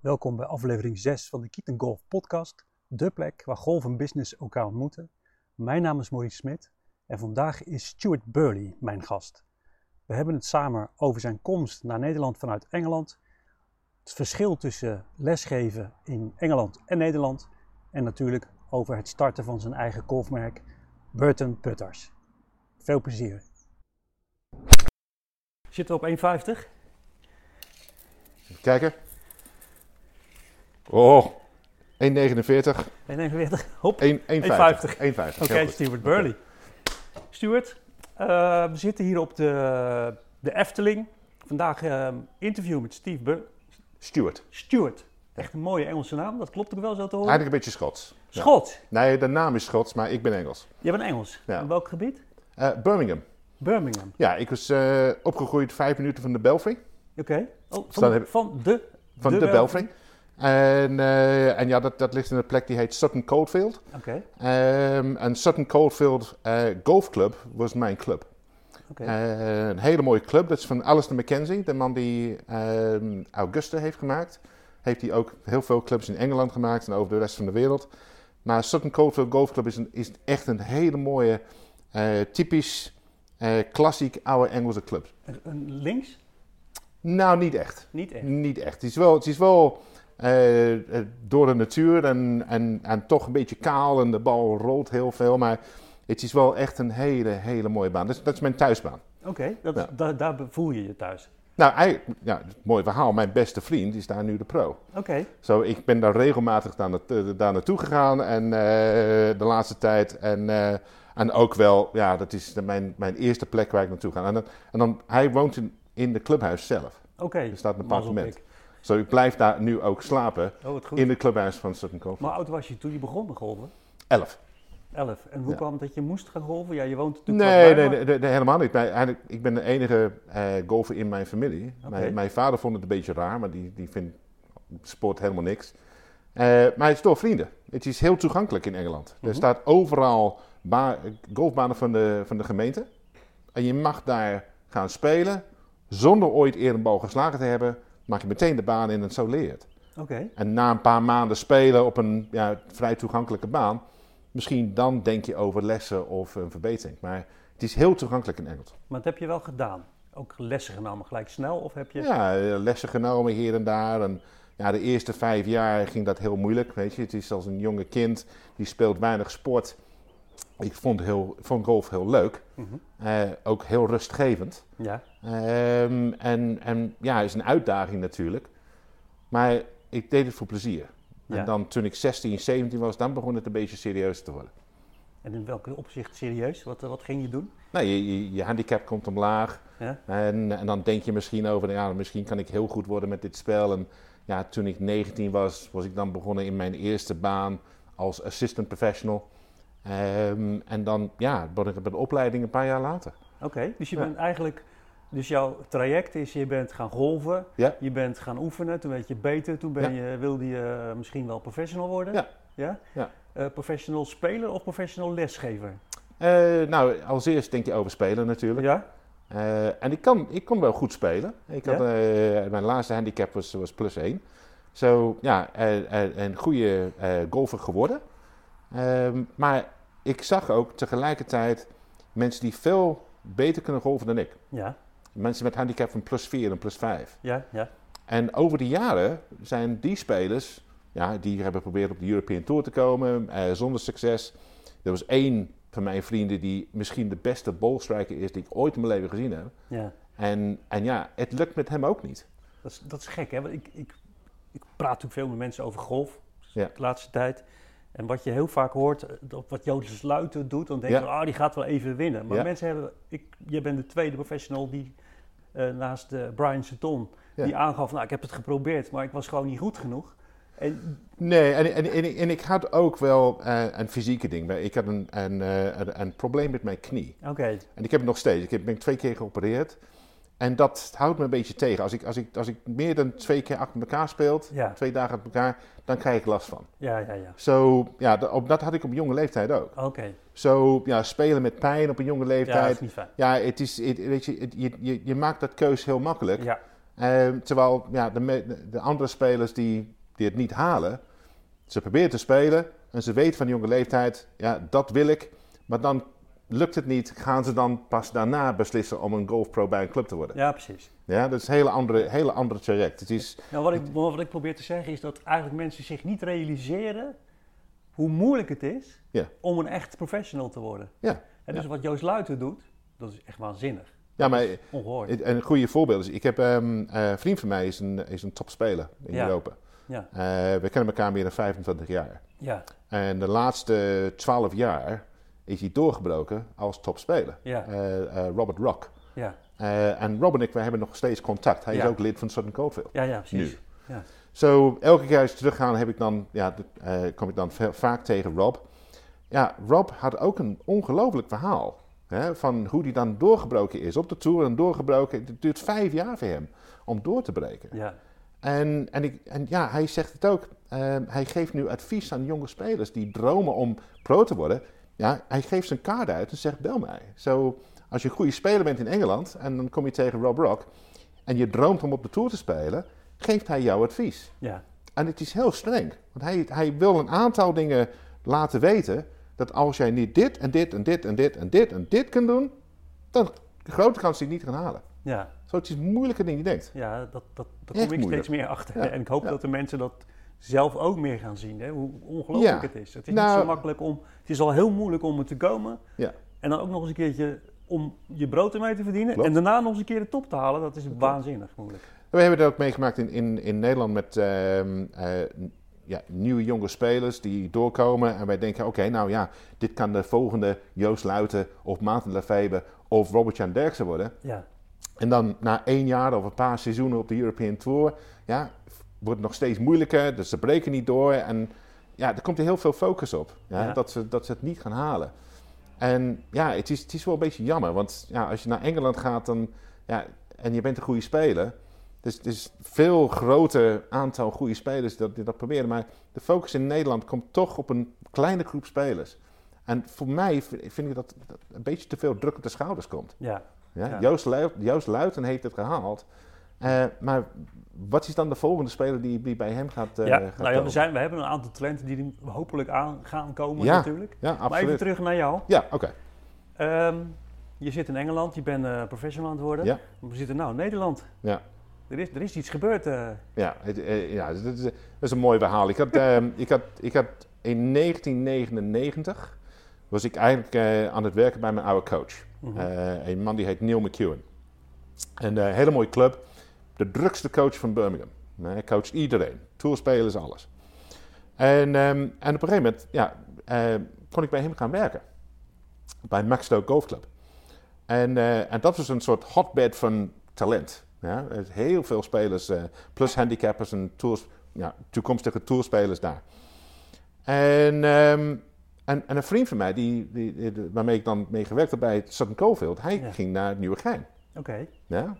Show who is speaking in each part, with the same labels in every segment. Speaker 1: Welkom bij aflevering 6 van de Kieten Golf Podcast, de plek waar golf en business elkaar ontmoeten. Mijn naam is Maurice Smit en vandaag is Stuart Burley mijn gast. We hebben het samen over zijn komst naar Nederland vanuit Engeland, het verschil tussen lesgeven in Engeland en Nederland en natuurlijk over het starten van zijn eigen golfmerk Burton Putters. Veel plezier. Zitten we op 1,50?
Speaker 2: Even kijken. Oh, 1,49.
Speaker 1: 1,49? Hop!
Speaker 2: 1,
Speaker 1: 1,50.
Speaker 2: 1,50. 1,50. Heel
Speaker 1: Oké,
Speaker 2: goed.
Speaker 1: Stuart Burley. Stuart, eh, we zitten hier op de, de Efteling. Vandaag eh, interview met Steve Bur-
Speaker 2: Stuart.
Speaker 1: Stuart. Echt een mooie Engelse naam, dat klopt ook wel zo te horen.
Speaker 2: Eigenlijk een beetje Schots. Ja.
Speaker 1: Schot,
Speaker 2: Nee, de naam is Schots, maar ik ben Engels.
Speaker 1: jij bent Engels.
Speaker 2: Ja.
Speaker 1: In welk gebied?
Speaker 2: Eh, Birmingham.
Speaker 1: Birmingham.
Speaker 2: Ja, ik was eh, opgegroeid vijf minuten van de Belfry.
Speaker 1: Oké. Oh,
Speaker 2: dan
Speaker 1: van,
Speaker 2: heb-
Speaker 1: van de.
Speaker 2: Van de, Belfry. En, eh, en ja, dat, dat ligt in een plek die heet Sutton Coldfield.
Speaker 1: Oké, oké.
Speaker 2: Ehm, en Sutton Coldfield eh, Golf Club was mijn club. Eh, een hele mooie club. Dat is van Alistair Mackenzie, de man die ehm, Augusta heeft gemaakt. Heeft hij ook heel veel clubs in Engeland gemaakt en over de rest van de wereld. Maar Sutton Coldfield Golf Club is, een, is echt een hele mooie, eh, typisch, eh, klassiek oude Engelse club.
Speaker 1: Een- een links?
Speaker 2: Nou, niet echt.
Speaker 1: Niet echt.
Speaker 2: Niet echt. Het is wel, het is wel eh, eh, door de natuur en, en, en toch een beetje kaal en de bal rolt heel veel. Maar het is wel echt een hele, hele mooie baan. Dat is, dat is mijn thuisbaan.
Speaker 1: Oké, dat is-
Speaker 2: Ja.
Speaker 1: daar- daar voel je je thuis.
Speaker 2: Nou, eigenlijk, ja, mooi verhaal. Mijn beste vriend is daar nu de pro.
Speaker 1: Oké,
Speaker 2: Zo, ik ben daar regelmatig daar, na- eh, daar naartoe gegaan en, eh, de laatste tijd. En, eh, en ook wel, ja, dat is de- mijn, mijn eerste plek waar ik naartoe ga. En, dan, en dan, hij woont in, in de clubhuis zelf.
Speaker 1: oké.
Speaker 2: Er staat een
Speaker 1: Mazzel
Speaker 2: appartement.
Speaker 1: pik.
Speaker 2: Zo, ik blijf daar nu ook slapen
Speaker 1: Oh, wat goed.
Speaker 2: in het clubhuis van Sutton Coldfield.
Speaker 1: Maar hoe oud was je toen je begon met golven?
Speaker 2: 11.
Speaker 1: 11. En hoe
Speaker 2: Ja.
Speaker 1: kwam het dat je moest gaan golven? Ja, je woont natuurlijk
Speaker 2: Nee,
Speaker 1: vlakbij,
Speaker 2: nee,
Speaker 1: maar-
Speaker 2: nee, nee, nee, helemaal niet. Nee, eigenlijk, ik ben de enige eh, golfer in mijn familie.
Speaker 1: Oké.
Speaker 2: Mijn, mijn vader vond het een beetje raar, maar die, die vindt sport helemaal niks. Eh, maar het is door vrienden. Het is heel toegankelijk in Engeland.
Speaker 1: Mhm.
Speaker 2: Er staat overal ba- golfbanen van de, van de gemeente. En je mag daar gaan spelen. Zonder ooit eerder een bal geslagen te hebben, mag je meteen de baan in en zo leer je het.
Speaker 1: Oké,
Speaker 2: En na een paar maanden spelen op een ja, vrij toegankelijke baan, misschien dan denk je over lessen of een verbetering. Maar het is heel toegankelijk in Engels.
Speaker 1: maar dat heb je wel gedaan. Ook lessen genomen gelijk snel of heb je...
Speaker 2: Ja, eh, lessen genomen hier en daar. En ja, de eerste vijf jaar ging dat heel moeilijk. Weet je, het is als een jonge kind die speelt weinig sport. Ik vond, heel, vond golf heel leuk,
Speaker 1: Mhm.
Speaker 2: Eh, ook heel rustgevend.
Speaker 1: ja.
Speaker 2: Ehm, en, en ja, is een uitdaging natuurlijk. Maar ik deed het voor plezier.
Speaker 1: Ja.
Speaker 2: En dan toen ik 16, 17 was, dan begon het een beetje serieus te worden.
Speaker 1: En in welk opzicht serieus? Wat, eh, wat ging je doen?
Speaker 2: Nou, je, je, je handicap komt omlaag.
Speaker 1: Ja.
Speaker 2: En, en dan denk je misschien over, ja, misschien kan ik heel goed worden met dit spel. En ja, toen ik 19 was, was ik dan begonnen in mijn eerste baan als assistant professional. Ehm, en dan, ja, begon ik met de opleiding een paar jaar later.
Speaker 1: Oké, dus je
Speaker 2: Ja.
Speaker 1: bent eigenlijk... Dus jouw traject is, je bent gaan golven,
Speaker 2: Ja.
Speaker 1: je bent gaan oefenen, toen werd je beter, toen ben je, wilde je eh, misschien wel professional worden.
Speaker 2: Ja.
Speaker 1: ja?
Speaker 2: Ja.
Speaker 1: Eh, professional speler of professional lesgever?
Speaker 2: Eh, nou, als eerst denk je over spelen natuurlijk.
Speaker 1: Ja?
Speaker 2: Eh, en ik, kan, ik kon wel goed spelen. Ik had,
Speaker 1: Ja?
Speaker 2: eh, mijn laatste handicap was, was plus 1. Zo, ja, eh, eh, een goede eh, golfer geworden. Ehm, maar ik zag ook tegelijkertijd mensen die veel beter kunnen golven dan ik.
Speaker 1: Ja,
Speaker 2: Mensen met handicap van plus 4 en plus 5.
Speaker 1: ja, ja.
Speaker 2: En over de jaren zijn die spelers, ja, die hebben geprobeerd op de European Tour te komen, eh, zonder succes. Er was één van mijn vrienden die misschien de beste ballstriker is die ik ooit in mijn leven gezien heb.
Speaker 1: ja.
Speaker 2: En, en ja, het lukt met hem ook niet.
Speaker 1: Dat is, dat is gek, hè? Want ik, ik, ik praat natuurlijk veel met mensen over golf dus
Speaker 2: Ja.
Speaker 1: de laatste tijd. En wat je heel vaak hoort, eh, dat wat Joost Luiten doet, dan denk je,
Speaker 2: Ja.
Speaker 1: ah, die gaat wel even winnen. Maar
Speaker 2: Ja.
Speaker 1: mensen hebben, ik, je bent de tweede professional die eh, naast eh, Brian Sutton,
Speaker 2: Ja.
Speaker 1: die aangaf, nou, ik heb het geprobeerd, maar ik was gewoon niet goed genoeg. En,
Speaker 2: Nee, en, en, en, en ik had ook wel eh, een fysieke ding. Ik had een, een, eh, een, een probleem met mijn knie.
Speaker 1: oké,
Speaker 2: En ik heb het nog steeds. Ik heb, ben twee keer geopereerd. En dat houdt me een beetje tegen. Als ik, als ik, als ik meer dan twee keer achter elkaar speel,
Speaker 1: Ja.
Speaker 2: twee dagen achter elkaar, dan krijg ik last van.
Speaker 1: ja, ja, ja.
Speaker 2: Zo, ja, dat, op, dat had ik op jonge leeftijd ook.
Speaker 1: Oké,
Speaker 2: Zo, ja, spelen met pijn op een jonge
Speaker 1: ja, dat
Speaker 2: leeftijd.
Speaker 1: is niet fijn.
Speaker 2: Ja, het is, het- weet je, het- je, je, je maakt dat keus heel makkelijk.
Speaker 1: Ja,
Speaker 2: Eh, terwijl ja, de, me- de andere spelers die, die het niet halen, ze proberen te spelen en ze weten van jonge leeftijd, ja, dat wil ik. Maar dan lukt het niet, gaan ze dan pas daarna beslissen om een golfpro bij een club te worden.
Speaker 1: Ja, precies.
Speaker 2: Ja, dat is een hele andere, hele andere traject. Het is,
Speaker 1: Ja, Nou, wat, ik, wat ik probeer te zeggen is dat eigenlijk mensen zich niet realiseren hoe moeilijk het is
Speaker 2: Ja.
Speaker 1: om een echt professional te worden.
Speaker 2: ja.
Speaker 1: En dus wat Joost Luiten doet, dat is echt waanzinnig.
Speaker 2: ja, maar
Speaker 1: Ongehoord.
Speaker 2: het- een goede voorbeeld is, ik heb ehm, eh, een vriend van mij is een, is een topspeler in
Speaker 1: Ja.
Speaker 2: Europa.
Speaker 1: Ja,
Speaker 2: Eh, we kennen elkaar meer dan 25 jaar.
Speaker 1: ja,
Speaker 2: En de laatste 12 jaar is hij doorgebroken als topspeler.
Speaker 1: ja,
Speaker 2: Eh, eh, Robert Rock.
Speaker 1: ja,
Speaker 2: Eh, en Rob en ik, wij hebben nog steeds contact. Hij
Speaker 1: Ja.
Speaker 2: is ook lid van Southern Coldfield.
Speaker 1: ja, ja precies.
Speaker 2: Nu.
Speaker 1: Ja.
Speaker 2: Zo, elke keer als we teruggaan, heb ik dan, ja, de- eh, kom ik dan ve- vaak tegen Rob. Ja, Rob had ook een ongelooflijk verhaal. Hè, van hoe hij dan doorgebroken is op de tour en doorgebroken. Het duurt vijf jaar voor hem om door te breken.
Speaker 1: Ja,
Speaker 2: En, en, ik, en ja, hij zegt het ook. Ehm, hij geeft nu advies aan jonge spelers die dromen om pro te worden. Ja, hij geeft zijn kaart uit en zegt: bel mij. Zo, als je een goede speler bent in Engeland en dan kom je tegen Rob Rock en je droomt om op de tour te spelen, geeft hij jouw advies.
Speaker 1: ja,
Speaker 2: En het is heel streng, want hij, hij wil een aantal dingen laten weten dat als jij niet dit en dit en dit en dit en dit en dit kunt doen, dan de grote kans dat je het niet gaat halen.
Speaker 1: ja,
Speaker 2: Zo, het is moeilijker dan je denkt.
Speaker 1: ja dat, dat, daar kom
Speaker 2: Echt
Speaker 1: ik
Speaker 2: moeilijk.
Speaker 1: steeds meer achter.
Speaker 2: Ja,
Speaker 1: En ik hoop
Speaker 2: ja.
Speaker 1: dat de mensen dat zelf ook meer gaan zien, hè? hoe ongelooflijk
Speaker 2: Ja.
Speaker 1: het is. Het is
Speaker 2: Nou-
Speaker 1: niet zo makkelijk om, het is al heel moeilijk om er te komen.
Speaker 2: Ja.
Speaker 1: En dan ook nog eens een keertje om je brood ermee te verdienen.
Speaker 2: Klopt.
Speaker 1: En daarna nog eens een keer de top te halen, dat is waanzinnig moeilijk.
Speaker 2: We hebben dat ook meegemaakt in, in, in Nederland met ehm, eh, n- ja, nieuwe jonge spelers die doorkomen. En wij denken, oké, nou ja, dit kan de volgende Joost Luiten of Maarten Lefebvre of Robert-Jan Derksen worden.
Speaker 1: Ja,
Speaker 2: En dan na één jaar of een paar seizoenen op de European Tour, ja, f- wordt het nog steeds moeilijker. Dus ze breken niet door. En ja, er komt er heel veel focus op. Ja,
Speaker 1: Ja.
Speaker 2: Dat, ze, dat ze het niet gaan halen. En ja, het is, het is wel een beetje jammer. Want ja, als je naar Engeland gaat dan, ja, en je bent een goede speler. Dus het is veel groter aantal goede spelers dat, die dat proberen. Maar de focus in Nederland komt toch op een kleine groep spelers. En voor mij v- vind ik dat, dat een beetje te veel druk op de schouders komt.
Speaker 1: ja,
Speaker 2: Ja,
Speaker 1: Ja.
Speaker 2: Joost, Luit, Joost Luiten heeft het gehaald. Eh, maar wat is dan de volgende speler die, die bij hem gaat, eh
Speaker 1: ja.
Speaker 2: gaat
Speaker 1: Nou ja, we,
Speaker 2: komen?
Speaker 1: zijn, we hebben een aantal talenten die er hopelijk aan gaan komen
Speaker 2: Ja,
Speaker 1: natuurlijk.
Speaker 2: Ja,
Speaker 1: Maar even
Speaker 2: absoluut.
Speaker 1: terug naar jou.
Speaker 2: Ja, oké.
Speaker 1: Ehm, je zit in Engeland, je bent eh, professional aan het worden.
Speaker 2: Ja.
Speaker 1: We zitten nou in Nederland.
Speaker 2: Ja.
Speaker 1: Er is, er is iets gebeurd. eh.
Speaker 2: Ja, het, eh, ja dat, is, dat is een mooi verhaal. Ik had, ehm, ik had, ik had in 1999 was ik eigenlijk eh, aan het werken bij mijn oude coach.
Speaker 1: Mhm.
Speaker 2: Eh, een man die heet Neil McEwen. Een eh, hele mooie club. De drukste coach van Birmingham. Hij coacht iedereen. Tourspelers, alles. En, ehm, en op een gegeven moment ja, eh, kon ik bij hem gaan werken. Bij Maxstoke Golf Club. En, eh, en dat was een soort hotbed van talent. Ja? Er is Heel veel spelers, eh, plus handicappers en tours, ja, toekomstige tourspelers daar. En, ehm, en, en een vriend van mij, die, die, die- waarmee ik dan mee gewerkt heb bij Sutton Cofield, hij
Speaker 1: Ja.
Speaker 2: ging naar Nieuwegein.
Speaker 1: Oké.
Speaker 2: Ja?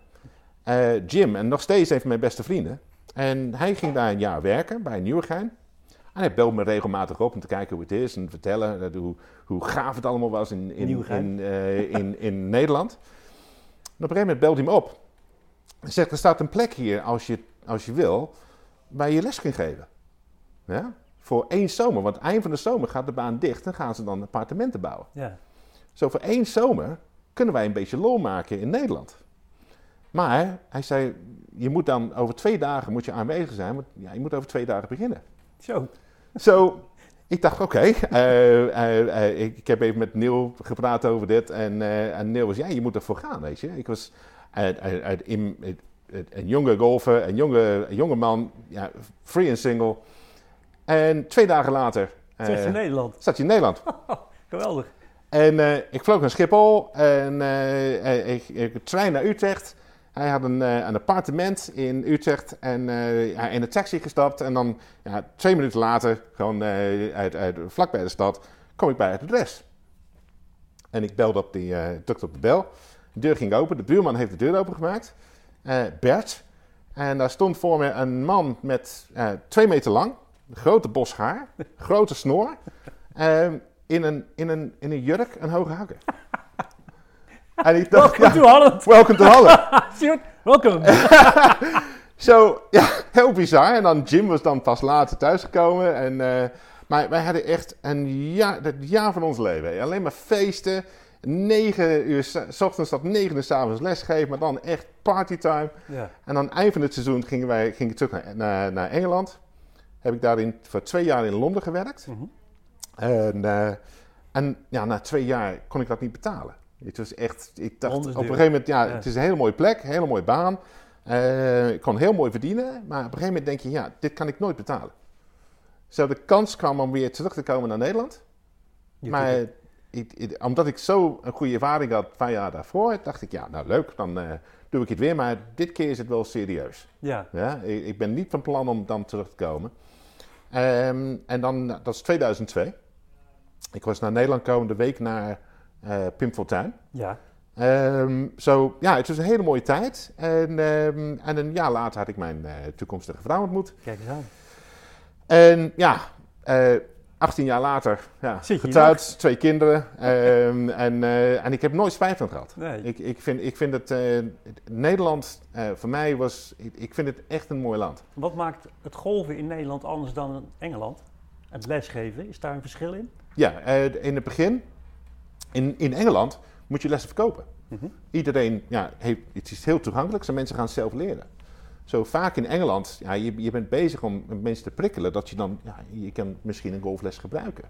Speaker 2: Eh, Jim, en nog steeds een van mijn beste vrienden. En hij ging daar een jaar werken bij Nieuwegein. En hij belde me regelmatig op om te kijken hoe het is en vertellen eh, hoe, hoe gaaf het allemaal was in, in,
Speaker 1: Nieuwegein.
Speaker 2: in, eh, in, in Nederland. En op een gegeven moment belde hij me op. Hij zegt, er staat een plek hier, als je, als je wil, waar je les kunt geven. Ja? Voor één zomer, want eind van de zomer gaat de baan dicht en gaan ze dan appartementen bouwen.
Speaker 1: Ja.
Speaker 2: Zo voor één zomer kunnen wij een beetje lol maken in Nederland. Maar hij zei, je moet dan over twee dagen moet je aanwezig zijn, want ja, je moet over twee dagen beginnen. Eh,
Speaker 1: Zo.
Speaker 2: Zo, ik dacht, oké, eh, eh, eh, ik, ik heb even met Neil gepraat over dit en, eh, en Neil was, ja, je moet ervoor gaan, weet je. Ik was eh, eh, eh, in- eh, eh, een jonge golfer, een jonge, een jonge man, ja, free en single. En twee dagen later eh,
Speaker 1: Terug in Nederland.
Speaker 2: zat je in Nederland.
Speaker 1: Geweldig.
Speaker 2: En eh, ik vloog naar Schiphol en eh, eh, ik, ik trein naar Utrecht. Hij had een, eh, een appartement in Utrecht en eh, ja, in de taxi gestapt. En dan ja, twee minuten later, gewoon eh, uit, uit, vlakbij de stad, kom ik bij het adres. En ik belde op die, eh drukte op de bel. De deur ging open, de buurman heeft de deur opengemaakt. Eh Bert. En daar stond voor me een man met eh, twee meter lang, grote bos haar, grote snor. Ehm, in een, in, een, in een jurk en hoge hakken. En ik dacht,
Speaker 1: Welkom
Speaker 2: ja,
Speaker 1: to Holland.
Speaker 2: welcome to Holland.
Speaker 1: Stuart, welkom.
Speaker 2: Zo, ja, heel bizar. En dan Jim was dan pas later thuisgekomen. En, eh, maar wij hadden echt een jaar, het jaar van ons leven. Alleen maar feesten. 9 uur, s- s ochtends tot 9 uur s avonds lesgeven. Maar dan echt partytime.
Speaker 1: Ja.
Speaker 2: En aan het eind van het seizoen gingen wij gingen terug naar, naar, naar Engeland. Heb ik daarin voor twee jaar in Londen gewerkt.
Speaker 1: Mhm.
Speaker 2: En, eh, en ja, na twee jaar kon ik dat niet betalen. Het was echt, ik dacht op
Speaker 1: Londen
Speaker 2: een
Speaker 1: is duur.
Speaker 2: gegeven moment, ja,
Speaker 1: Ja.
Speaker 2: het is een hele mooie plek, een hele mooie baan. Eh, ik kon heel mooi verdienen, maar op een gegeven moment denk je, ja, dit kan ik nooit betalen. Zo, de kans kwam om weer terug te komen naar Nederland.
Speaker 1: Je
Speaker 2: maar
Speaker 1: doet het.
Speaker 2: ik- ik- omdat ik zo een goede ervaring had een paar jaar daarvoor, dacht ik, ja, nou leuk, dan eh, doe ik het weer. Maar dit keer is het wel serieus.
Speaker 1: ja.
Speaker 2: Ja, ik, ik ben niet van plan om dan terug te komen. Ehm, en dan, dat is 2002. Ik was naar Nederland komen de week naar eh Pim Fortuyn.
Speaker 1: ja,
Speaker 2: Ehm, Zo, ja, het was een hele mooie tijd. En, ehm, en een jaar later had ik mijn eh, toekomstige vrouw ontmoet.
Speaker 1: kijk eens aan.
Speaker 2: En ja, eh, 18 jaar later, ja,
Speaker 1: Zit je hier
Speaker 2: getrouwd, twee kinderen. Ehm, en, eh, en ik heb nooit spijt van gehad.
Speaker 1: Nee.
Speaker 2: Ik, ik, vind, ik vind het, eh, Nederland eh, voor mij was, ik, ik vind het echt een mooi land.
Speaker 1: Wat maakt het golven in Nederland anders dan in Engeland? Het lesgeven, is daar een verschil in?
Speaker 2: Ja, eh, in het begin, in, in Engeland, moet je lessen verkopen.
Speaker 1: Mhm.
Speaker 2: Iedereen, ja, heeft, het is heel toegankelijk, zijn mensen gaan zelf leren. Zo vaak in Engeland, ja, je, je bent bezig om mensen te prikkelen, dat je dan, ja, je kan misschien een golfles gebruiken.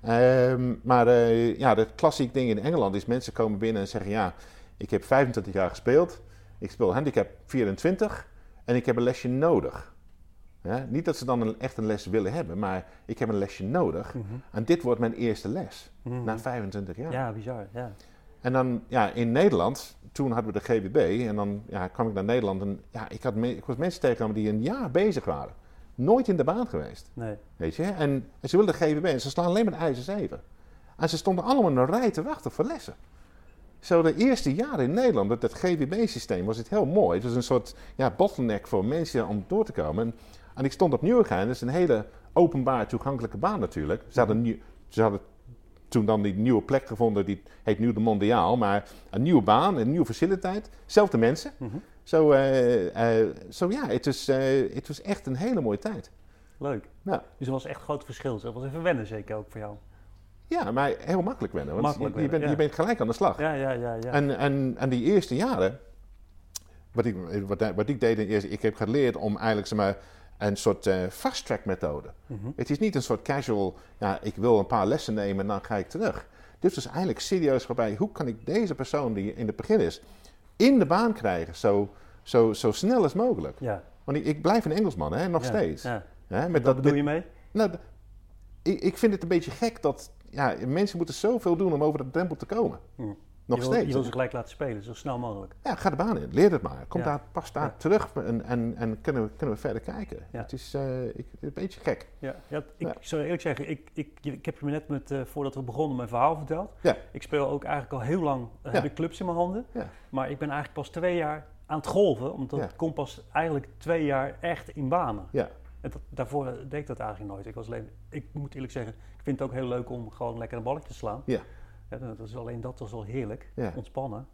Speaker 2: Ehm, maar eh, ja, dat klassiek ding in Engeland is, mensen komen binnen en zeggen, ja, ik heb 25 jaar gespeeld, ik speel handicap 24 en ik heb een lesje nodig. Ja, niet dat ze dan een, echt een les willen hebben, maar ik heb een lesje nodig.
Speaker 1: Mhm.
Speaker 2: En dit wordt mijn eerste les,
Speaker 1: Mhm.
Speaker 2: na 25 jaar.
Speaker 1: Ja, bizar. Ja.
Speaker 2: En dan, ja, in Nederland, toen hadden we de GBB en dan ja, kwam ik naar Nederland en ja, ik, had me- ik was mensen tegengekomen die een jaar bezig waren. Nooit in de baan geweest,
Speaker 1: Nee.
Speaker 2: weet je. En, en ze wilden de GBB en ze slaan alleen maar de ijzer 7. En ze stonden allemaal in een rij te wachten voor lessen. Zo de eerste jaren in Nederland, met dat GBB-systeem, was het heel mooi. Het was een soort ja, bottleneck voor mensen om door te komen. En, en ik stond op Nieuwegein, dat is een hele openbaar toegankelijke baan natuurlijk. Ze hadden, nieuw- ze hadden toen dan die nieuwe plek gevonden, die heet nu de Mondiaal. Maar een nieuwe baan, een nieuwe faciliteit, zelfde mensen.
Speaker 1: Mhm.
Speaker 2: Zo eh, eh, zo ja, het was, eh, het was echt een hele mooie tijd.
Speaker 1: Leuk.
Speaker 2: Ja.
Speaker 1: Dus er was echt groot verschil. Dat was even wennen zeker ook voor jou.
Speaker 2: Ja, maar heel makkelijk wennen, want
Speaker 1: Makkelijk
Speaker 2: je, je
Speaker 1: wennen,
Speaker 2: bent,
Speaker 1: ja.
Speaker 2: je bent gelijk aan de slag.
Speaker 1: Ja, ja, ja. ja.
Speaker 2: En, en, en die eerste jaren, wat ik, wat, wat ik deed, in de eerste, ik heb geleerd om eigenlijk zeg maar, een soort eh fast track methode.
Speaker 1: Mhm.
Speaker 2: Het is niet een soort casual, ja, ik wil een paar lessen nemen en dan ga ik terug. Dit was eigenlijk serieus waarbij, hoe kan ik deze persoon die in het begin is, in de baan krijgen zo, zo, zo snel als mogelijk.
Speaker 1: ja.
Speaker 2: Want ik, ik blijf een Engelsman, hè, nog
Speaker 1: Ja,
Speaker 2: steeds.
Speaker 1: Ja.
Speaker 2: Hè, met
Speaker 1: Wat bedoel je mee?
Speaker 2: nou, d- ik, ik vind het een beetje gek dat ja, mensen moeten zoveel doen om over de drempel te komen.
Speaker 1: Hm.
Speaker 2: Nog
Speaker 1: je wil,
Speaker 2: steeds.
Speaker 1: Je wil ze gelijk laten spelen, zo snel mogelijk.
Speaker 2: Ja, ga de baan in. Leer het maar. Kom
Speaker 1: Ja.
Speaker 2: daar, pas daar
Speaker 1: Ja.
Speaker 2: terug en, en, en kunnen, we, kunnen we verder kijken.
Speaker 1: Ja.
Speaker 2: Het is eh, ik, een beetje gek.
Speaker 1: Ja, ja, ik
Speaker 2: Ja.
Speaker 1: zou eerlijk zeggen, ik, ik, je- ik heb je net met, eh, voordat we begonnen mijn verhaal verteld.
Speaker 2: Ja.
Speaker 1: Ik speel ook eigenlijk al heel lang, eh,
Speaker 2: Ja.
Speaker 1: heb ik clubs in mijn handen.
Speaker 2: Ja.
Speaker 1: Maar ik ben eigenlijk pas twee jaar aan het golven, omdat
Speaker 2: Ja.
Speaker 1: ik kom pas eigenlijk twee jaar echt in banen.
Speaker 2: Ja.
Speaker 1: En dat- daarvoor eh, deed ik dat eigenlijk nooit. Ik, was alleen, ik moet eerlijk zeggen, ik vind het ook heel leuk om gewoon lekker een balletje te slaan.
Speaker 2: Ja.
Speaker 1: Ja, dat is alleen dat was wel heerlijk,
Speaker 2: Ja.
Speaker 1: ontspannen.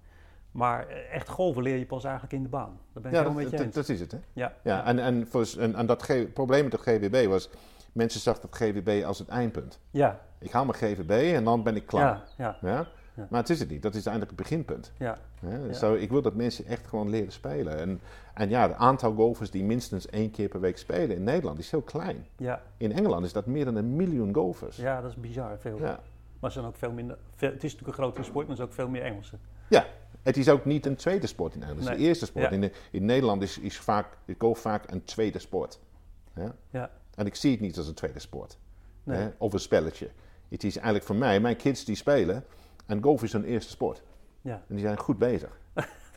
Speaker 1: Maar eh, echt golven leer je pas eigenlijk in de baan. Daar ben ik
Speaker 2: Ja,
Speaker 1: helemaal
Speaker 2: dat,
Speaker 1: met je
Speaker 2: dat,
Speaker 1: eens.
Speaker 2: dat is het. Hè?
Speaker 1: Ja,
Speaker 2: Ja, en, en, voor, en, en dat G- probleem met de GWB was, mensen zagen het GWB als het eindpunt.
Speaker 1: ja,
Speaker 2: Ik haal mijn GWB en dan ben ik klaar.
Speaker 1: ja, ja,
Speaker 2: Ja?
Speaker 1: Ja.
Speaker 2: Maar het is het niet. Dat is eigenlijk het beginpunt.
Speaker 1: ja.
Speaker 2: Hè?
Speaker 1: Ja.
Speaker 2: Zo, ik wil dat mensen echt gewoon leren spelen. En, en ja, het aantal golfers die minstens één keer per week spelen in Nederland is heel klein.
Speaker 1: ja.
Speaker 2: In Engeland is dat meer dan een miljoen golfers.
Speaker 1: Ja, dat is bizar veel.
Speaker 2: Ja.
Speaker 1: Maar ze zijn ook veel minder. Veel, het is natuurlijk een grotere sport, maar er zijn ook veel meer Engelsen.
Speaker 2: Ja, het is ook niet een tweede sport in Nederland. Het is
Speaker 1: Nee.
Speaker 2: de eerste sport.
Speaker 1: Ja.
Speaker 2: In, de- in Nederland is, is, vaak, is golf vaak een tweede sport. Ja?
Speaker 1: Ja.
Speaker 2: En ik zie het niet als een tweede sport.
Speaker 1: Nee.
Speaker 2: Hè? Of een spelletje. Het is eigenlijk voor mij, mijn kids die spelen... en golf is hun eerste sport.
Speaker 1: Ja.
Speaker 2: En die zijn goed bezig.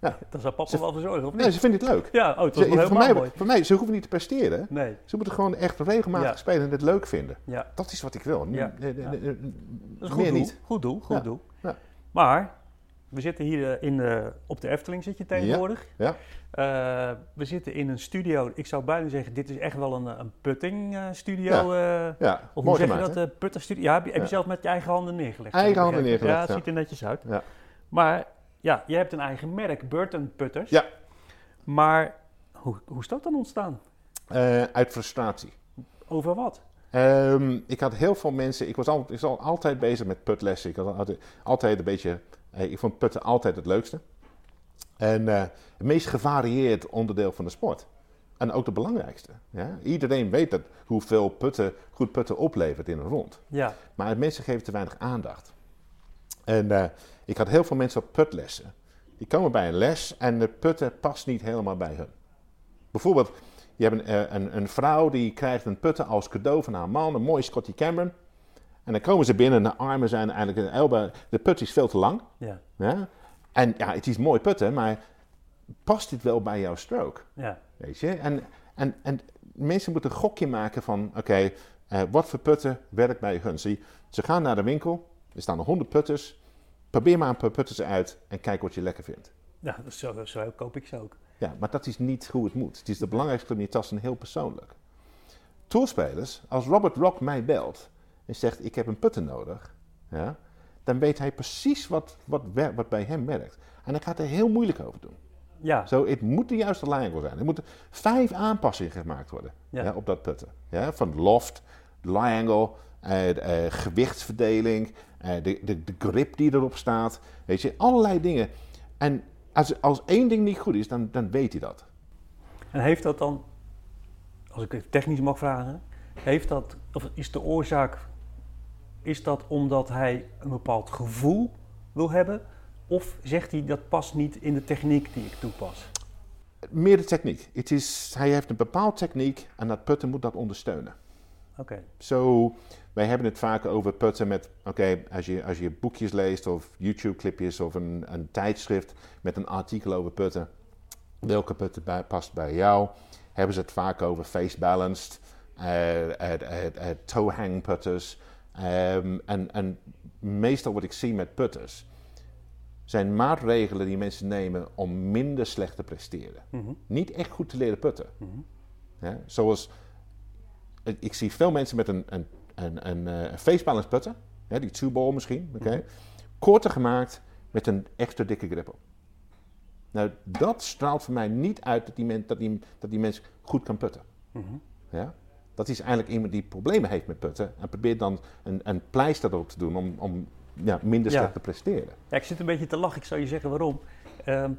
Speaker 1: Daar zou papa wel voor zorgen, of niet?
Speaker 2: Nee, ze vinden het leuk.
Speaker 1: Ja, oh, het was wel
Speaker 2: Ze- voor,
Speaker 1: helemaal
Speaker 2: mij,
Speaker 1: mooi.
Speaker 2: voor mij, ze hoeven niet te presteren.
Speaker 1: Nee,
Speaker 2: Ze moeten gewoon echt regelmatig
Speaker 1: Ja.
Speaker 2: spelen en het leuk vinden.
Speaker 1: ja.
Speaker 2: Dat is wat ik wil.
Speaker 1: Ja.
Speaker 2: Eh, eh,
Speaker 1: Ja.
Speaker 2: eh, eh,
Speaker 1: Dat is een goed
Speaker 2: Meer
Speaker 1: doel.
Speaker 2: niet.
Speaker 1: Goed doel, goed
Speaker 2: Ja.
Speaker 1: doel.
Speaker 2: Ja.
Speaker 1: Maar, we zitten hier eh, in, eh, op de Efteling zit je tegenwoordig.
Speaker 2: Ja.
Speaker 1: Eh, we zitten in een studio. Ik zou bijna zeggen, dit is echt wel een, eh, een putting eh, studio. eh,
Speaker 2: Ja,
Speaker 1: of hoe
Speaker 2: mooi
Speaker 1: zeg
Speaker 2: gemaakt.
Speaker 1: je dat? eh putterstudio? Ja, heb je, heb je
Speaker 2: Ja.
Speaker 1: zelf met je eigen handen neergelegd?
Speaker 2: Eigen
Speaker 1: heb ik
Speaker 2: handen
Speaker 1: begrepen.
Speaker 2: neergelegd,
Speaker 1: Ja, het
Speaker 2: ja.
Speaker 1: ziet er netjes uit.
Speaker 2: Ja.
Speaker 1: Maar Ja, je hebt een eigen merk, Burton Putters.
Speaker 2: Ja.
Speaker 1: Maar hoe, hoe is dat dan ontstaan?
Speaker 2: Eh, uit frustratie.
Speaker 1: Over wat?
Speaker 2: Ehm, ik had heel veel mensen, ik was, al, ik was al altijd bezig met putlessen. Ik, had altijd, altijd een beetje, eh, ik vond putten altijd het leukste. En eh, het meest gevarieerd onderdeel van de sport. En ook de belangrijkste. Ja? Iedereen weet dat hoeveel putten, goed putten oplevert in een rond.
Speaker 1: Ja,
Speaker 2: Maar mensen geven te weinig aandacht. En eh, ik had heel veel mensen op putlessen. Die komen bij een les en de putten past niet helemaal bij hun. Bijvoorbeeld, je hebt een, eh, een, een vrouw die krijgt een putten als cadeau van haar man, een mooie Scotty Cameron. En dan komen ze binnen en de armen zijn eigenlijk een elba. De put is veel te lang.
Speaker 1: ja,
Speaker 2: Ja? En ja, het is mooi putten, maar past dit wel bij jouw stroke?
Speaker 1: ja.
Speaker 2: Weet je? En, en, en mensen moeten een gokje maken van, oké, eh, wat voor putten werkt bij hun? Ze, ze gaan naar de winkel, er staan er 100 putters. Probeer maar een paar putters uit en kijk wat je lekker vindt.
Speaker 1: ja zo, zo koop ik ze ook.
Speaker 2: Ja, maar dat is niet hoe het moet. Het is de belangrijkste club in je tas en heel persoonlijk. Tourspelers, als Robert Rock mij belt en zegt ik heb een putter nodig, ja, dan weet hij precies wat, wat, wer- wat bij hem werkt. En hij gaat er heel moeilijk over doen.
Speaker 1: Ja,
Speaker 2: Zo, het moet de juiste lijn zijn. Er moeten vijf aanpassingen gemaakt worden
Speaker 1: Ja.
Speaker 2: ja, op dat putten. Ja, van loft, lie-angle, eh, eh, gewichtsverdeling, eh, de, de, de grip die erop staat. Weet je, allerlei dingen. En als, als één ding niet goed is, dan, dan weet hij dat.
Speaker 1: en heeft dat dan, als ik het technisch mag vragen, heeft dat, of is de oorzaak, is dat omdat hij een bepaald gevoel wil hebben? Of zegt hij dat past niet in de techniek die ik toepas?
Speaker 2: Meer de techniek. Het is, hij heeft een bepaalde techniek en dat putten moet dat ondersteunen.
Speaker 1: Oké,
Speaker 2: Zo, wij hebben het vaak over putten met, oké, als, je, als je boekjes leest of YouTube-clipjes of een, een tijdschrift met een artikel over putten, welke putten bij- past bij jou? Hebben ze het vaak over face balanced, eh, eh, eh, eh, toe hang putters. ehm, en, en meestal wat ik zie met putters, zijn maatregelen die mensen nemen om minder slecht te presteren.
Speaker 1: Mhm,
Speaker 2: Niet echt goed te leren putten. Ja, zoals ik ik zie veel mensen met een, een, een, een, eh, een face balance putten, hè, die two ball misschien, oké,
Speaker 1: Mhm.
Speaker 2: korter gemaakt met een extra dikke grip op. Nou, dat straalt voor mij niet uit dat die, men, dat die, dat die mens goed kan putten.
Speaker 1: mhm.
Speaker 2: Ja? Dat is eigenlijk iemand die problemen heeft met putten en probeert dan een, een pleister erop te doen om, om ja, minder
Speaker 1: Ja.
Speaker 2: slecht te presteren.
Speaker 1: Ja, ik zit een beetje te lachen. Ik zou je zeggen waarom. Ehm,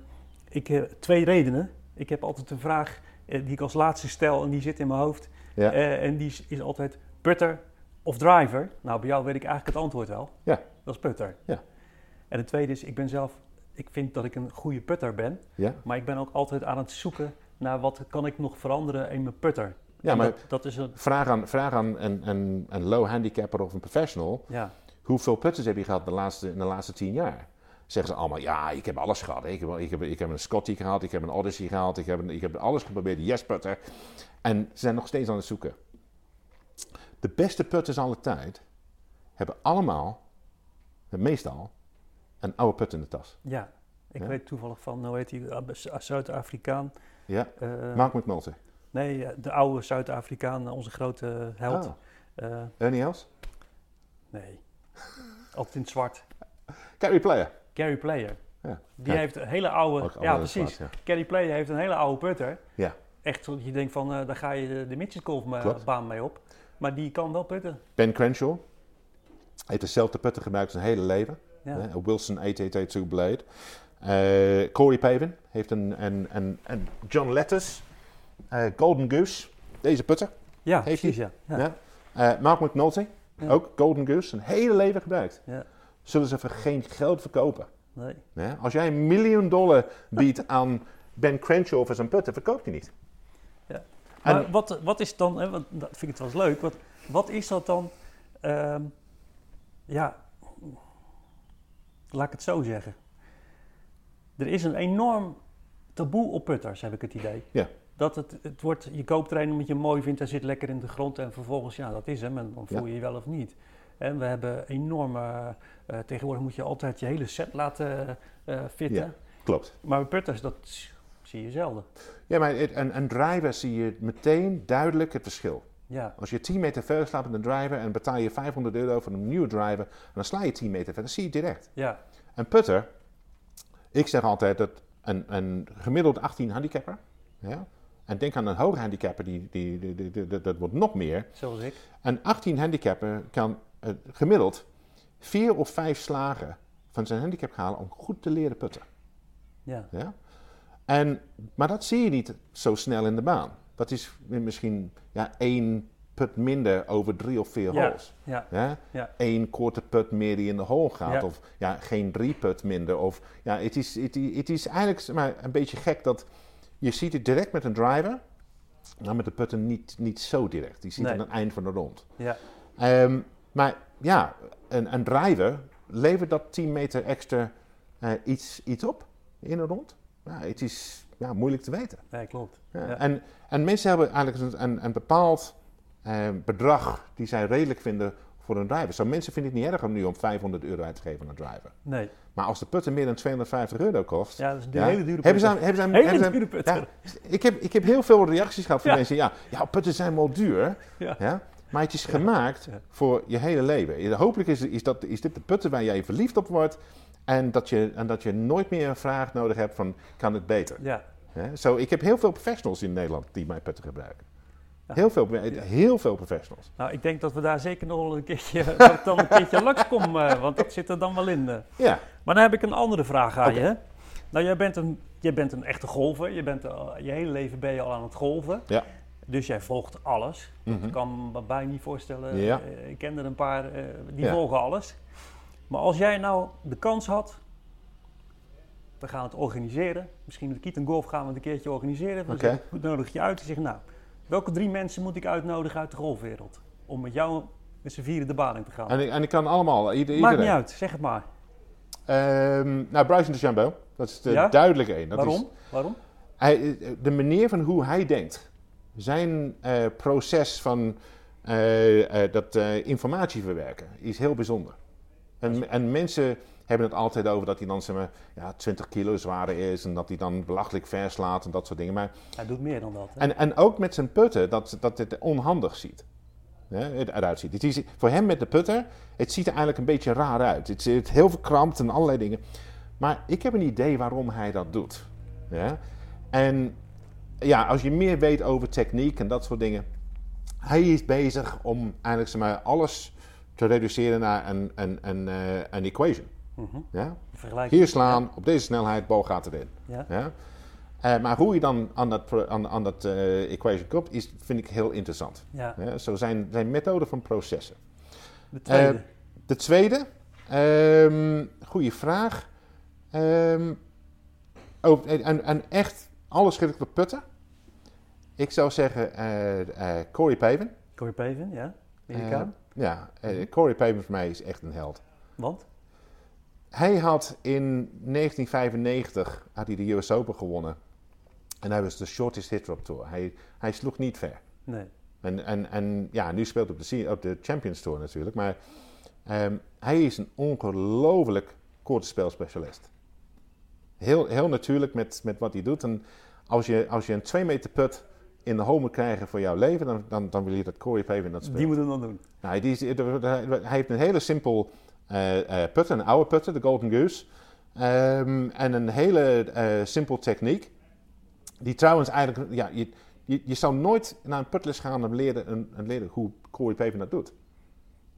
Speaker 1: ik heb twee redenen. Ik heb altijd een vraag eh, die ik als laatste stel en die zit in mijn hoofd.
Speaker 2: Ja.
Speaker 1: Eh, en die is, is altijd putter of driver. Nou, bij jou weet ik eigenlijk het antwoord wel.
Speaker 2: Ja.
Speaker 1: Dat is putter.
Speaker 2: Ja.
Speaker 1: En het tweede is, ik ben zelf... Ik vind dat ik een goede putter ben.
Speaker 2: Ja?
Speaker 1: Maar ik ben ook altijd aan het zoeken naar wat kan ik nog veranderen in mijn putter.
Speaker 2: Ja,
Speaker 1: En
Speaker 2: maar
Speaker 1: Dat, dat is een...
Speaker 2: vraag aan, vraag aan een, een, een low handicapper of een professional
Speaker 1: Ja,
Speaker 2: hoeveel putters heb je gehad de laatste, in de laatste tien jaar? Zeggen ze allemaal, ja, ik heb alles gehad. hè. Ik heb, ik heb, ik heb een Scotty gehaald, ik heb een Odyssey gehaald, ik heb, een- ik heb alles geprobeerd, yes putter. En ze zijn nog steeds aan het zoeken. De beste putters alle tijd hebben allemaal, meestal, een oude put in de tas.
Speaker 1: ja. Ik
Speaker 2: Ja.
Speaker 1: weet toevallig van, hoe heet die, eh, Zuid-Afrikaan.
Speaker 2: Ja,
Speaker 1: eh,
Speaker 2: Mark McNulty.
Speaker 1: Nee, eh, de oude Zuid-Afrikaan, eh, onze grote held.
Speaker 2: Ah,
Speaker 1: Eh,
Speaker 2: Ernie Els?
Speaker 1: nee. Altijd in het zwart.
Speaker 2: Carry player.
Speaker 1: Gary Player.
Speaker 2: Ja.
Speaker 1: Die
Speaker 2: Ja.
Speaker 1: heeft een hele oude...
Speaker 2: Ook
Speaker 1: ja,
Speaker 2: allemaal in het
Speaker 1: precies.
Speaker 2: zwart,
Speaker 1: Gary Player heeft een hele oude putter.
Speaker 2: Ja.
Speaker 1: Echt zodat je denkt van, eh, daar ga je de, de midget golf ma-
Speaker 2: Klopt.
Speaker 1: baan mee op. Maar die kan wel putten.
Speaker 2: Ben Crenshaw heeft dezelfde putter gebruikt zijn hele leven.
Speaker 1: Ja.
Speaker 2: Hè, een Eh, Wilson 8882 Blade. Eh Corey Pavin heeft een, een, een, een John Letters eh, Golden Goose. Deze putter.
Speaker 1: Ja,
Speaker 2: Heeft
Speaker 1: precies ja.
Speaker 2: Ja.
Speaker 1: Ja.
Speaker 2: Eh, Mark McNulty,
Speaker 1: Ja.
Speaker 2: ook Golden Goose, zijn hele leven gebruikt.
Speaker 1: Ja.
Speaker 2: Zullen ze voor geen geld verkopen.
Speaker 1: Nee.
Speaker 2: Hè? Als jij een miljoen dollar biedt aan Ben Crenshaw voor zijn putter, verkoopt hij niet. En-
Speaker 1: Maar wat, wat is dan, hè, want dat vind ik het wel eens leuk, wat, wat is dat dan, ehm, ja, laat ik het zo zeggen. Er is een enorm taboe op putters, heb ik het idee.
Speaker 2: Ja.
Speaker 1: Dat het, het wordt, je koopt er een omdat je hem mooi vindt, hij zit lekker in de grond en vervolgens, ja, dat is hem en dan voel je je wel of niet. En we hebben enorme, eh, tegenwoordig moet je altijd je hele set laten eh, fitten.
Speaker 2: Ja. Klopt.
Speaker 1: Maar bij putters, dat zie je zelden.
Speaker 2: Ja, maar het- een, een driver zie je meteen duidelijk het verschil.
Speaker 1: Ja,
Speaker 2: Als je 10 meter verder slaat met een driver en betaal je 500 euro voor een nieuwe driver, en dan sla je 10 meter verder, dat zie je direct.
Speaker 1: ja,
Speaker 2: Een putter Ik zeg altijd dat een, een gemiddeld 18 handicapper, ja, en denk aan een hoge handicapper, die, die, die, die- die- die- dat wordt nog meer.
Speaker 1: Zoals ik.
Speaker 2: Een 18 handicapper kan eh, gemiddeld vier of vijf slagen van zijn handicap halen om goed te leren putten.
Speaker 1: Ja.
Speaker 2: Ja? En, maar dat zie je niet zo snel in de baan. Dat is misschien ja, één put minder over drie of vier
Speaker 1: Ja.
Speaker 2: holes.
Speaker 1: Ja.
Speaker 2: Ja?
Speaker 1: Ja.
Speaker 2: Eén korte put meer die in de hole gaat.
Speaker 1: Ja.
Speaker 2: Of ja, geen drie put minder. Of, ja, het, is, het, i- het is eigenlijk zeg maar, een beetje gek dat je ziet het direct met een driver. Maar met de putten niet, niet zo direct. Die ziet
Speaker 1: Nee.
Speaker 2: het aan het eind van de rond.
Speaker 1: Ja.
Speaker 2: Ehm, maar ja, een, een driver levert dat 10 meter extra eh, iets, iets op in een rond. Ja, het is ja, moeilijk te weten.
Speaker 1: Nee, klopt.
Speaker 2: Ja.
Speaker 1: Ja.
Speaker 2: En, en mensen hebben eigenlijk een, een, een bepaald eh, bedrag die zij redelijk vinden voor een driver. Zo mensen vinden het niet erg om nu om 500 euro uit te geven aan een driver.
Speaker 1: Nee.
Speaker 2: Maar als de putten meer dan 250 euro kost,
Speaker 1: Ja, dat is een
Speaker 2: ja.
Speaker 1: hele dure
Speaker 2: Hebben ze,
Speaker 1: putter.
Speaker 2: aan- hebben ze, aan-
Speaker 1: Hele
Speaker 2: hebben ze aan-
Speaker 1: dure putter.
Speaker 2: Ja, ik, heb, ik heb heel veel reacties gehad van
Speaker 1: Ja.
Speaker 2: mensen. Ja, ja, putten zijn wel duur.
Speaker 1: Ja.
Speaker 2: Ja. maar het is gemaakt
Speaker 1: Ja.
Speaker 2: voor je hele leven. Je- Hopelijk is, is, dat, is dit de putten waar jij verliefd op wordt. En dat, je, en dat je nooit meer een vraag nodig hebt van, kan het beter?
Speaker 1: Ja.
Speaker 2: Hè? Zo, ik heb heel veel professionals in Nederland die mijn putten gebruiken.
Speaker 1: Ja.
Speaker 2: Heel, veel, eh, heel veel professionals.
Speaker 1: Nou, ik denk dat we daar zeker nog wel een keertje, dat ik dan een keertje langskom, eh, want dat zit er dan wel in. eh.
Speaker 2: Ja,
Speaker 1: Maar dan heb ik een andere vraag aan
Speaker 2: Oké.
Speaker 1: je. hè. Nou, jij bent een, jij bent een echte golfer. Je, bent al- je hele leven ben je al aan het golven.
Speaker 2: Ja.
Speaker 1: Dus jij volgt alles.
Speaker 2: Mhm.
Speaker 1: Ik kan me bijna niet voorstellen.
Speaker 2: Ja.
Speaker 1: eh, Ik ken er een paar, eh, die
Speaker 2: Ja.
Speaker 1: volgen alles. Maar als jij nou de kans had, we gaan het organiseren. Misschien met Kiet en Golf gaan we het een keertje organiseren. We
Speaker 2: Oké.
Speaker 1: zeggen, we nodig je uit. Je zegt, nou, welke drie mensen moet ik uitnodigen uit de golfwereld? Om met jou met z'n vieren de baan in te gaan.
Speaker 2: en ik, en ik kan allemaal, ieder-
Speaker 1: Maakt
Speaker 2: iedereen.
Speaker 1: niet uit, zeg het maar.
Speaker 2: Ehm, nou, Bryson DeChambeau, dat is de
Speaker 1: Ja?
Speaker 2: duidelijke een. Dat is-
Speaker 1: Waarom? Waarom?
Speaker 2: Hij, eh, de manier van hoe hij denkt, zijn eh, proces van eh, eh, dat eh, informatie verwerken, is heel bijzonder. En, en mensen hebben het altijd over dat hij dan zeg maar, ja, 20 kilo zwaarder is en dat hij dan belachelijk verslaat en dat soort dingen. Maar,
Speaker 1: Hij doet meer dan dat. hè?
Speaker 2: en, en ook met zijn putten, dat, dat het onhandig ziet. Ja, het eruit ziet. Het is, voor hem met de putter, het ziet er eigenlijk een beetje raar uit. Het zit heel verkrampt en allerlei dingen. Maar ik heb een idee waarom hij dat doet. Ja? En ja, als je meer weet over techniek en dat soort dingen. Hij is bezig om eigenlijk zeg maar, alles te reduceren naar een, een, een, eh, een equation.
Speaker 1: Mhm.
Speaker 2: Ja?
Speaker 1: Vergelijking.
Speaker 2: Hier slaan, op deze snelheid, bal gaat erin.
Speaker 1: Ja.
Speaker 2: Ja? Eh, maar hoe je dan aan dat, pro- aan, aan dat eh, equation komt, is, vind ik heel interessant.
Speaker 1: Ja.
Speaker 2: Ja, zo zijn, zijn methoden van processen.
Speaker 1: De tweede.
Speaker 2: Eh, de tweede, ehm goede vraag. Ehm, oh, en- en, en echt alles gericht op putten. Ik zou zeggen eh, eh, Corey Paven.
Speaker 1: Corey Pavin, ja. Amerikaan.
Speaker 2: Eh, ja, eh, Corey Paven voor mij is echt een held.
Speaker 1: Want?
Speaker 2: Hij had in 1995 had hij de US Open gewonnen. En hij was de shortest hitter op tour. Hij, hij sloeg niet ver.
Speaker 1: Nee.
Speaker 2: En, en, en ja, nu speelt hij op de, se- op de Champions Tour natuurlijk. Maar ehm, hij is een ongelooflijk kortspelspecialist. Heel, heel natuurlijk met, met wat hij doet. En als je, als je een 2 meter put in de home moet krijgen voor jouw leven, dan, dan, dan wil je dat Corey Pavin dat speelt.
Speaker 1: Die moeten we dan doen.
Speaker 2: Nou, die is- hij heeft een hele simpel eh eh, putter, een oude putter, de Golden Goose. Ehm, en een hele eh, simpel techniek. Die trouwens eigenlijk, ja, je, je, je zou nooit naar een putles gaan om leren, en, en leren hoe Corey Paven dat doet.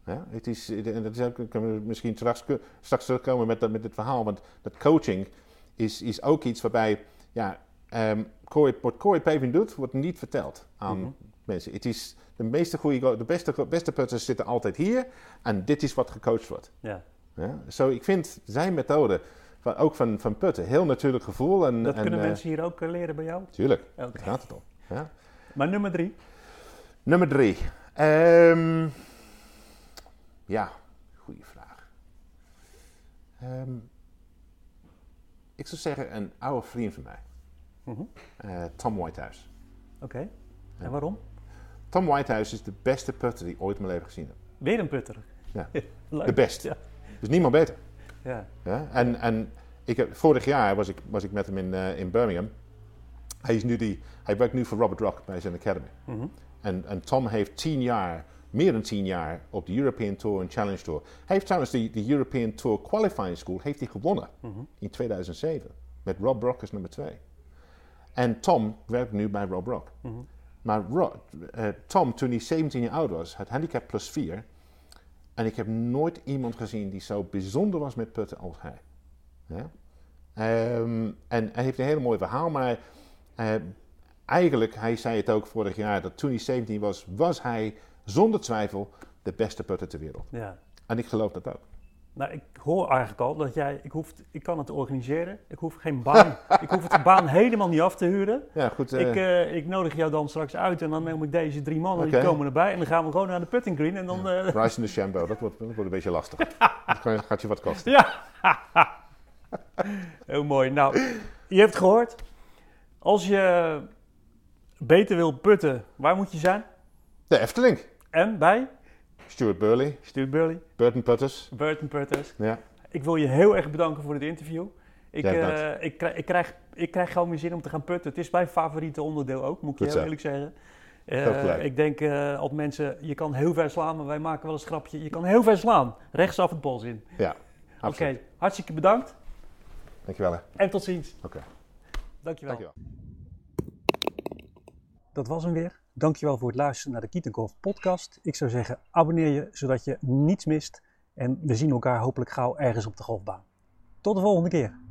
Speaker 2: Ja, het is, en dat is ook, kunnen we misschien straks, straks terugkomen met, dat- met dit verhaal, want dat coaching is, is ook iets waarbij, ja, ehm, Corey, wat Corey Paven doet, wordt niet verteld aan
Speaker 1: Mhm.
Speaker 2: mensen. Het is de meeste goede, go- de beste, beste putters zitten altijd hier en dit is wat gecoacht wordt.
Speaker 1: Ja.
Speaker 2: Ja? Zo, ik vind zijn methode, van, ook van, van putten, heel natuurlijk gevoel. En,
Speaker 1: Dat
Speaker 2: en,
Speaker 1: kunnen
Speaker 2: eh,
Speaker 1: mensen hier ook eh, leren bij jou.
Speaker 2: Tuurlijk,
Speaker 1: Oké.
Speaker 2: daar gaat het om. Ja?
Speaker 1: Maar nummer drie.
Speaker 2: Nummer drie. Ehm, ja, goede vraag. Ehm, ik zou zeggen een oude vriend van mij,
Speaker 1: Mhm.
Speaker 2: eh, Tom Whitehouse.
Speaker 1: Oké. En waarom?
Speaker 2: Tom Whitehouse is de beste putter die ik ooit in mijn leven gezien heb.
Speaker 1: Weer een putter.
Speaker 2: Ja.
Speaker 1: Leuk.
Speaker 2: De beste.
Speaker 1: Ja.
Speaker 2: Er is niemand beter.
Speaker 1: Ja.
Speaker 2: Ja? En, en ik heb, vorig jaar was ik, was ik met hem in, eh, in Birmingham. Hij, is nu die, hij werkt nu voor Robert Rock bij zijn Academy.
Speaker 1: Mhm.
Speaker 2: En, en Tom heeft tien jaar meer dan tien jaar op de European Tour en Challenge Tour. Hij heeft trouwens de, de European Tour Qualifying School heeft hij gewonnen in 2007. Met Rob Brock als nummer twee. En Tom werkt nu bij Rob Brock. Maar Ro- eh, Tom, toen hij 17 jaar oud was, had handicap plus 4. En ik heb nooit iemand gezien die zo bijzonder was met putten als hij. Ja? Ehm, en hij heeft een heel mooi verhaal, maar eh, eigenlijk, hij zei het ook vorig jaar, dat toen hij 17 was, was hij zonder twijfel de beste putter ter wereld.
Speaker 1: Ja.
Speaker 2: En ik geloof dat ook.
Speaker 1: Nou, ik hoor eigenlijk al dat jij, ik, hoef, ik kan het organiseren, ik hoef geen baan, ik hoef de baan helemaal niet af te huren.
Speaker 2: Ja, goed. eh,
Speaker 1: Ik, eh, ik nodig jou dan straks uit en dan neem ik deze drie mannen,
Speaker 2: Oké.
Speaker 1: die komen erbij en dan gaan we gewoon naar de putting green en dan... eh,
Speaker 2: Rise in the Shambo, dat wordt, dat wordt een beetje lastig. dat kan- gaat je wat kosten.
Speaker 1: Ja, heel mooi. Nou, je hebt gehoord. Als je beter wil putten, waar moet je zijn?
Speaker 2: De Efteling.
Speaker 1: En bij?
Speaker 2: Stuart Burley,
Speaker 1: Stuart Burley,
Speaker 2: Burton Putters.
Speaker 1: Burton Putters.
Speaker 2: Ja.
Speaker 1: Ik wil je heel erg bedanken voor dit interview. Ik,
Speaker 2: Jij
Speaker 1: eh,
Speaker 2: bedankt.
Speaker 1: ik, krij- ik, krijg, ik krijg gewoon meer zin om te gaan putten. Het is mijn favoriete onderdeel ook, moet ik je
Speaker 2: Goed
Speaker 1: heel
Speaker 2: zo.
Speaker 1: eerlijk zeggen. Eh,
Speaker 2: Heel gelijk.
Speaker 1: ik denk eh op mensen, je kan heel ver slaan, maar wij maken wel eens een grapje. Je kan heel ver slaan, rechtsaf het bos in.
Speaker 2: Ja,
Speaker 1: Oké,
Speaker 2: absoluut.
Speaker 1: hartstikke bedankt
Speaker 2: Dankjewel. hè.
Speaker 1: en tot ziens.
Speaker 2: Oké.
Speaker 1: Dankjewel.
Speaker 2: Dankjewel.
Speaker 1: Dat was hem weer. Dankjewel voor het luisteren naar de Kietengolf podcast. Ik zou zeggen, abonneer je zodat je niets mist. En we zien elkaar hopelijk gauw ergens op de golfbaan. Tot de volgende keer.